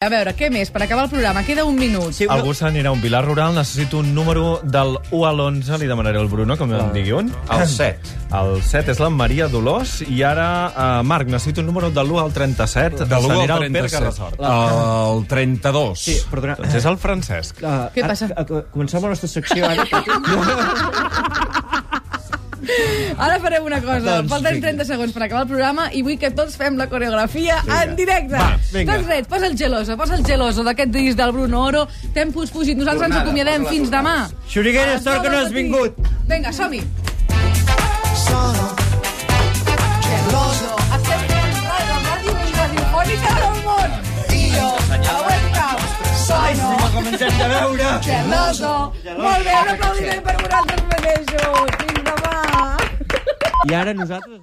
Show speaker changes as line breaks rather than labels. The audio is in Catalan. A veure, què més? Per acabar el programa, queda un minut.
Sí,
Algú s'anirà a un vilar rural, necessito un número del 1 al 11, li demanaré al Bruno que em digui un.
El set.
El 7 és la Maria Dolors, i ara, eh, Marc, necessito un número de l'1 al 37,
De l'1
s'anirà
al
al Pere
37.
Carrasort.
El 32.
Sí, perdona.
Doncs és el Francesc.
Uh,
Què passa?
comencem la nostra secció ara.
Ara farem una cosa.
ah. Doncs
Falten
vinga.
30 segons per acabar el programa i vull que tots fem la coreografia en directe.
Va, vinga.
doncs res, posa el geloso, posa el geloso d'aquest disc del Bruno Oro. T'hem fugit. Nosaltres ens acomiadem fins demà.
Xuriguera,
A
sort que no has
Salvatí.
vingut.
Vinga, som-hi. Geloso. Estem fent la ràdio més radiofònica del món. I jo, a la webcam, sono.
Comencem a veure.
Geloso. Molt bé, un aplaudiment per vosaltres mateixos. Fins demà.
I ara nosaltres...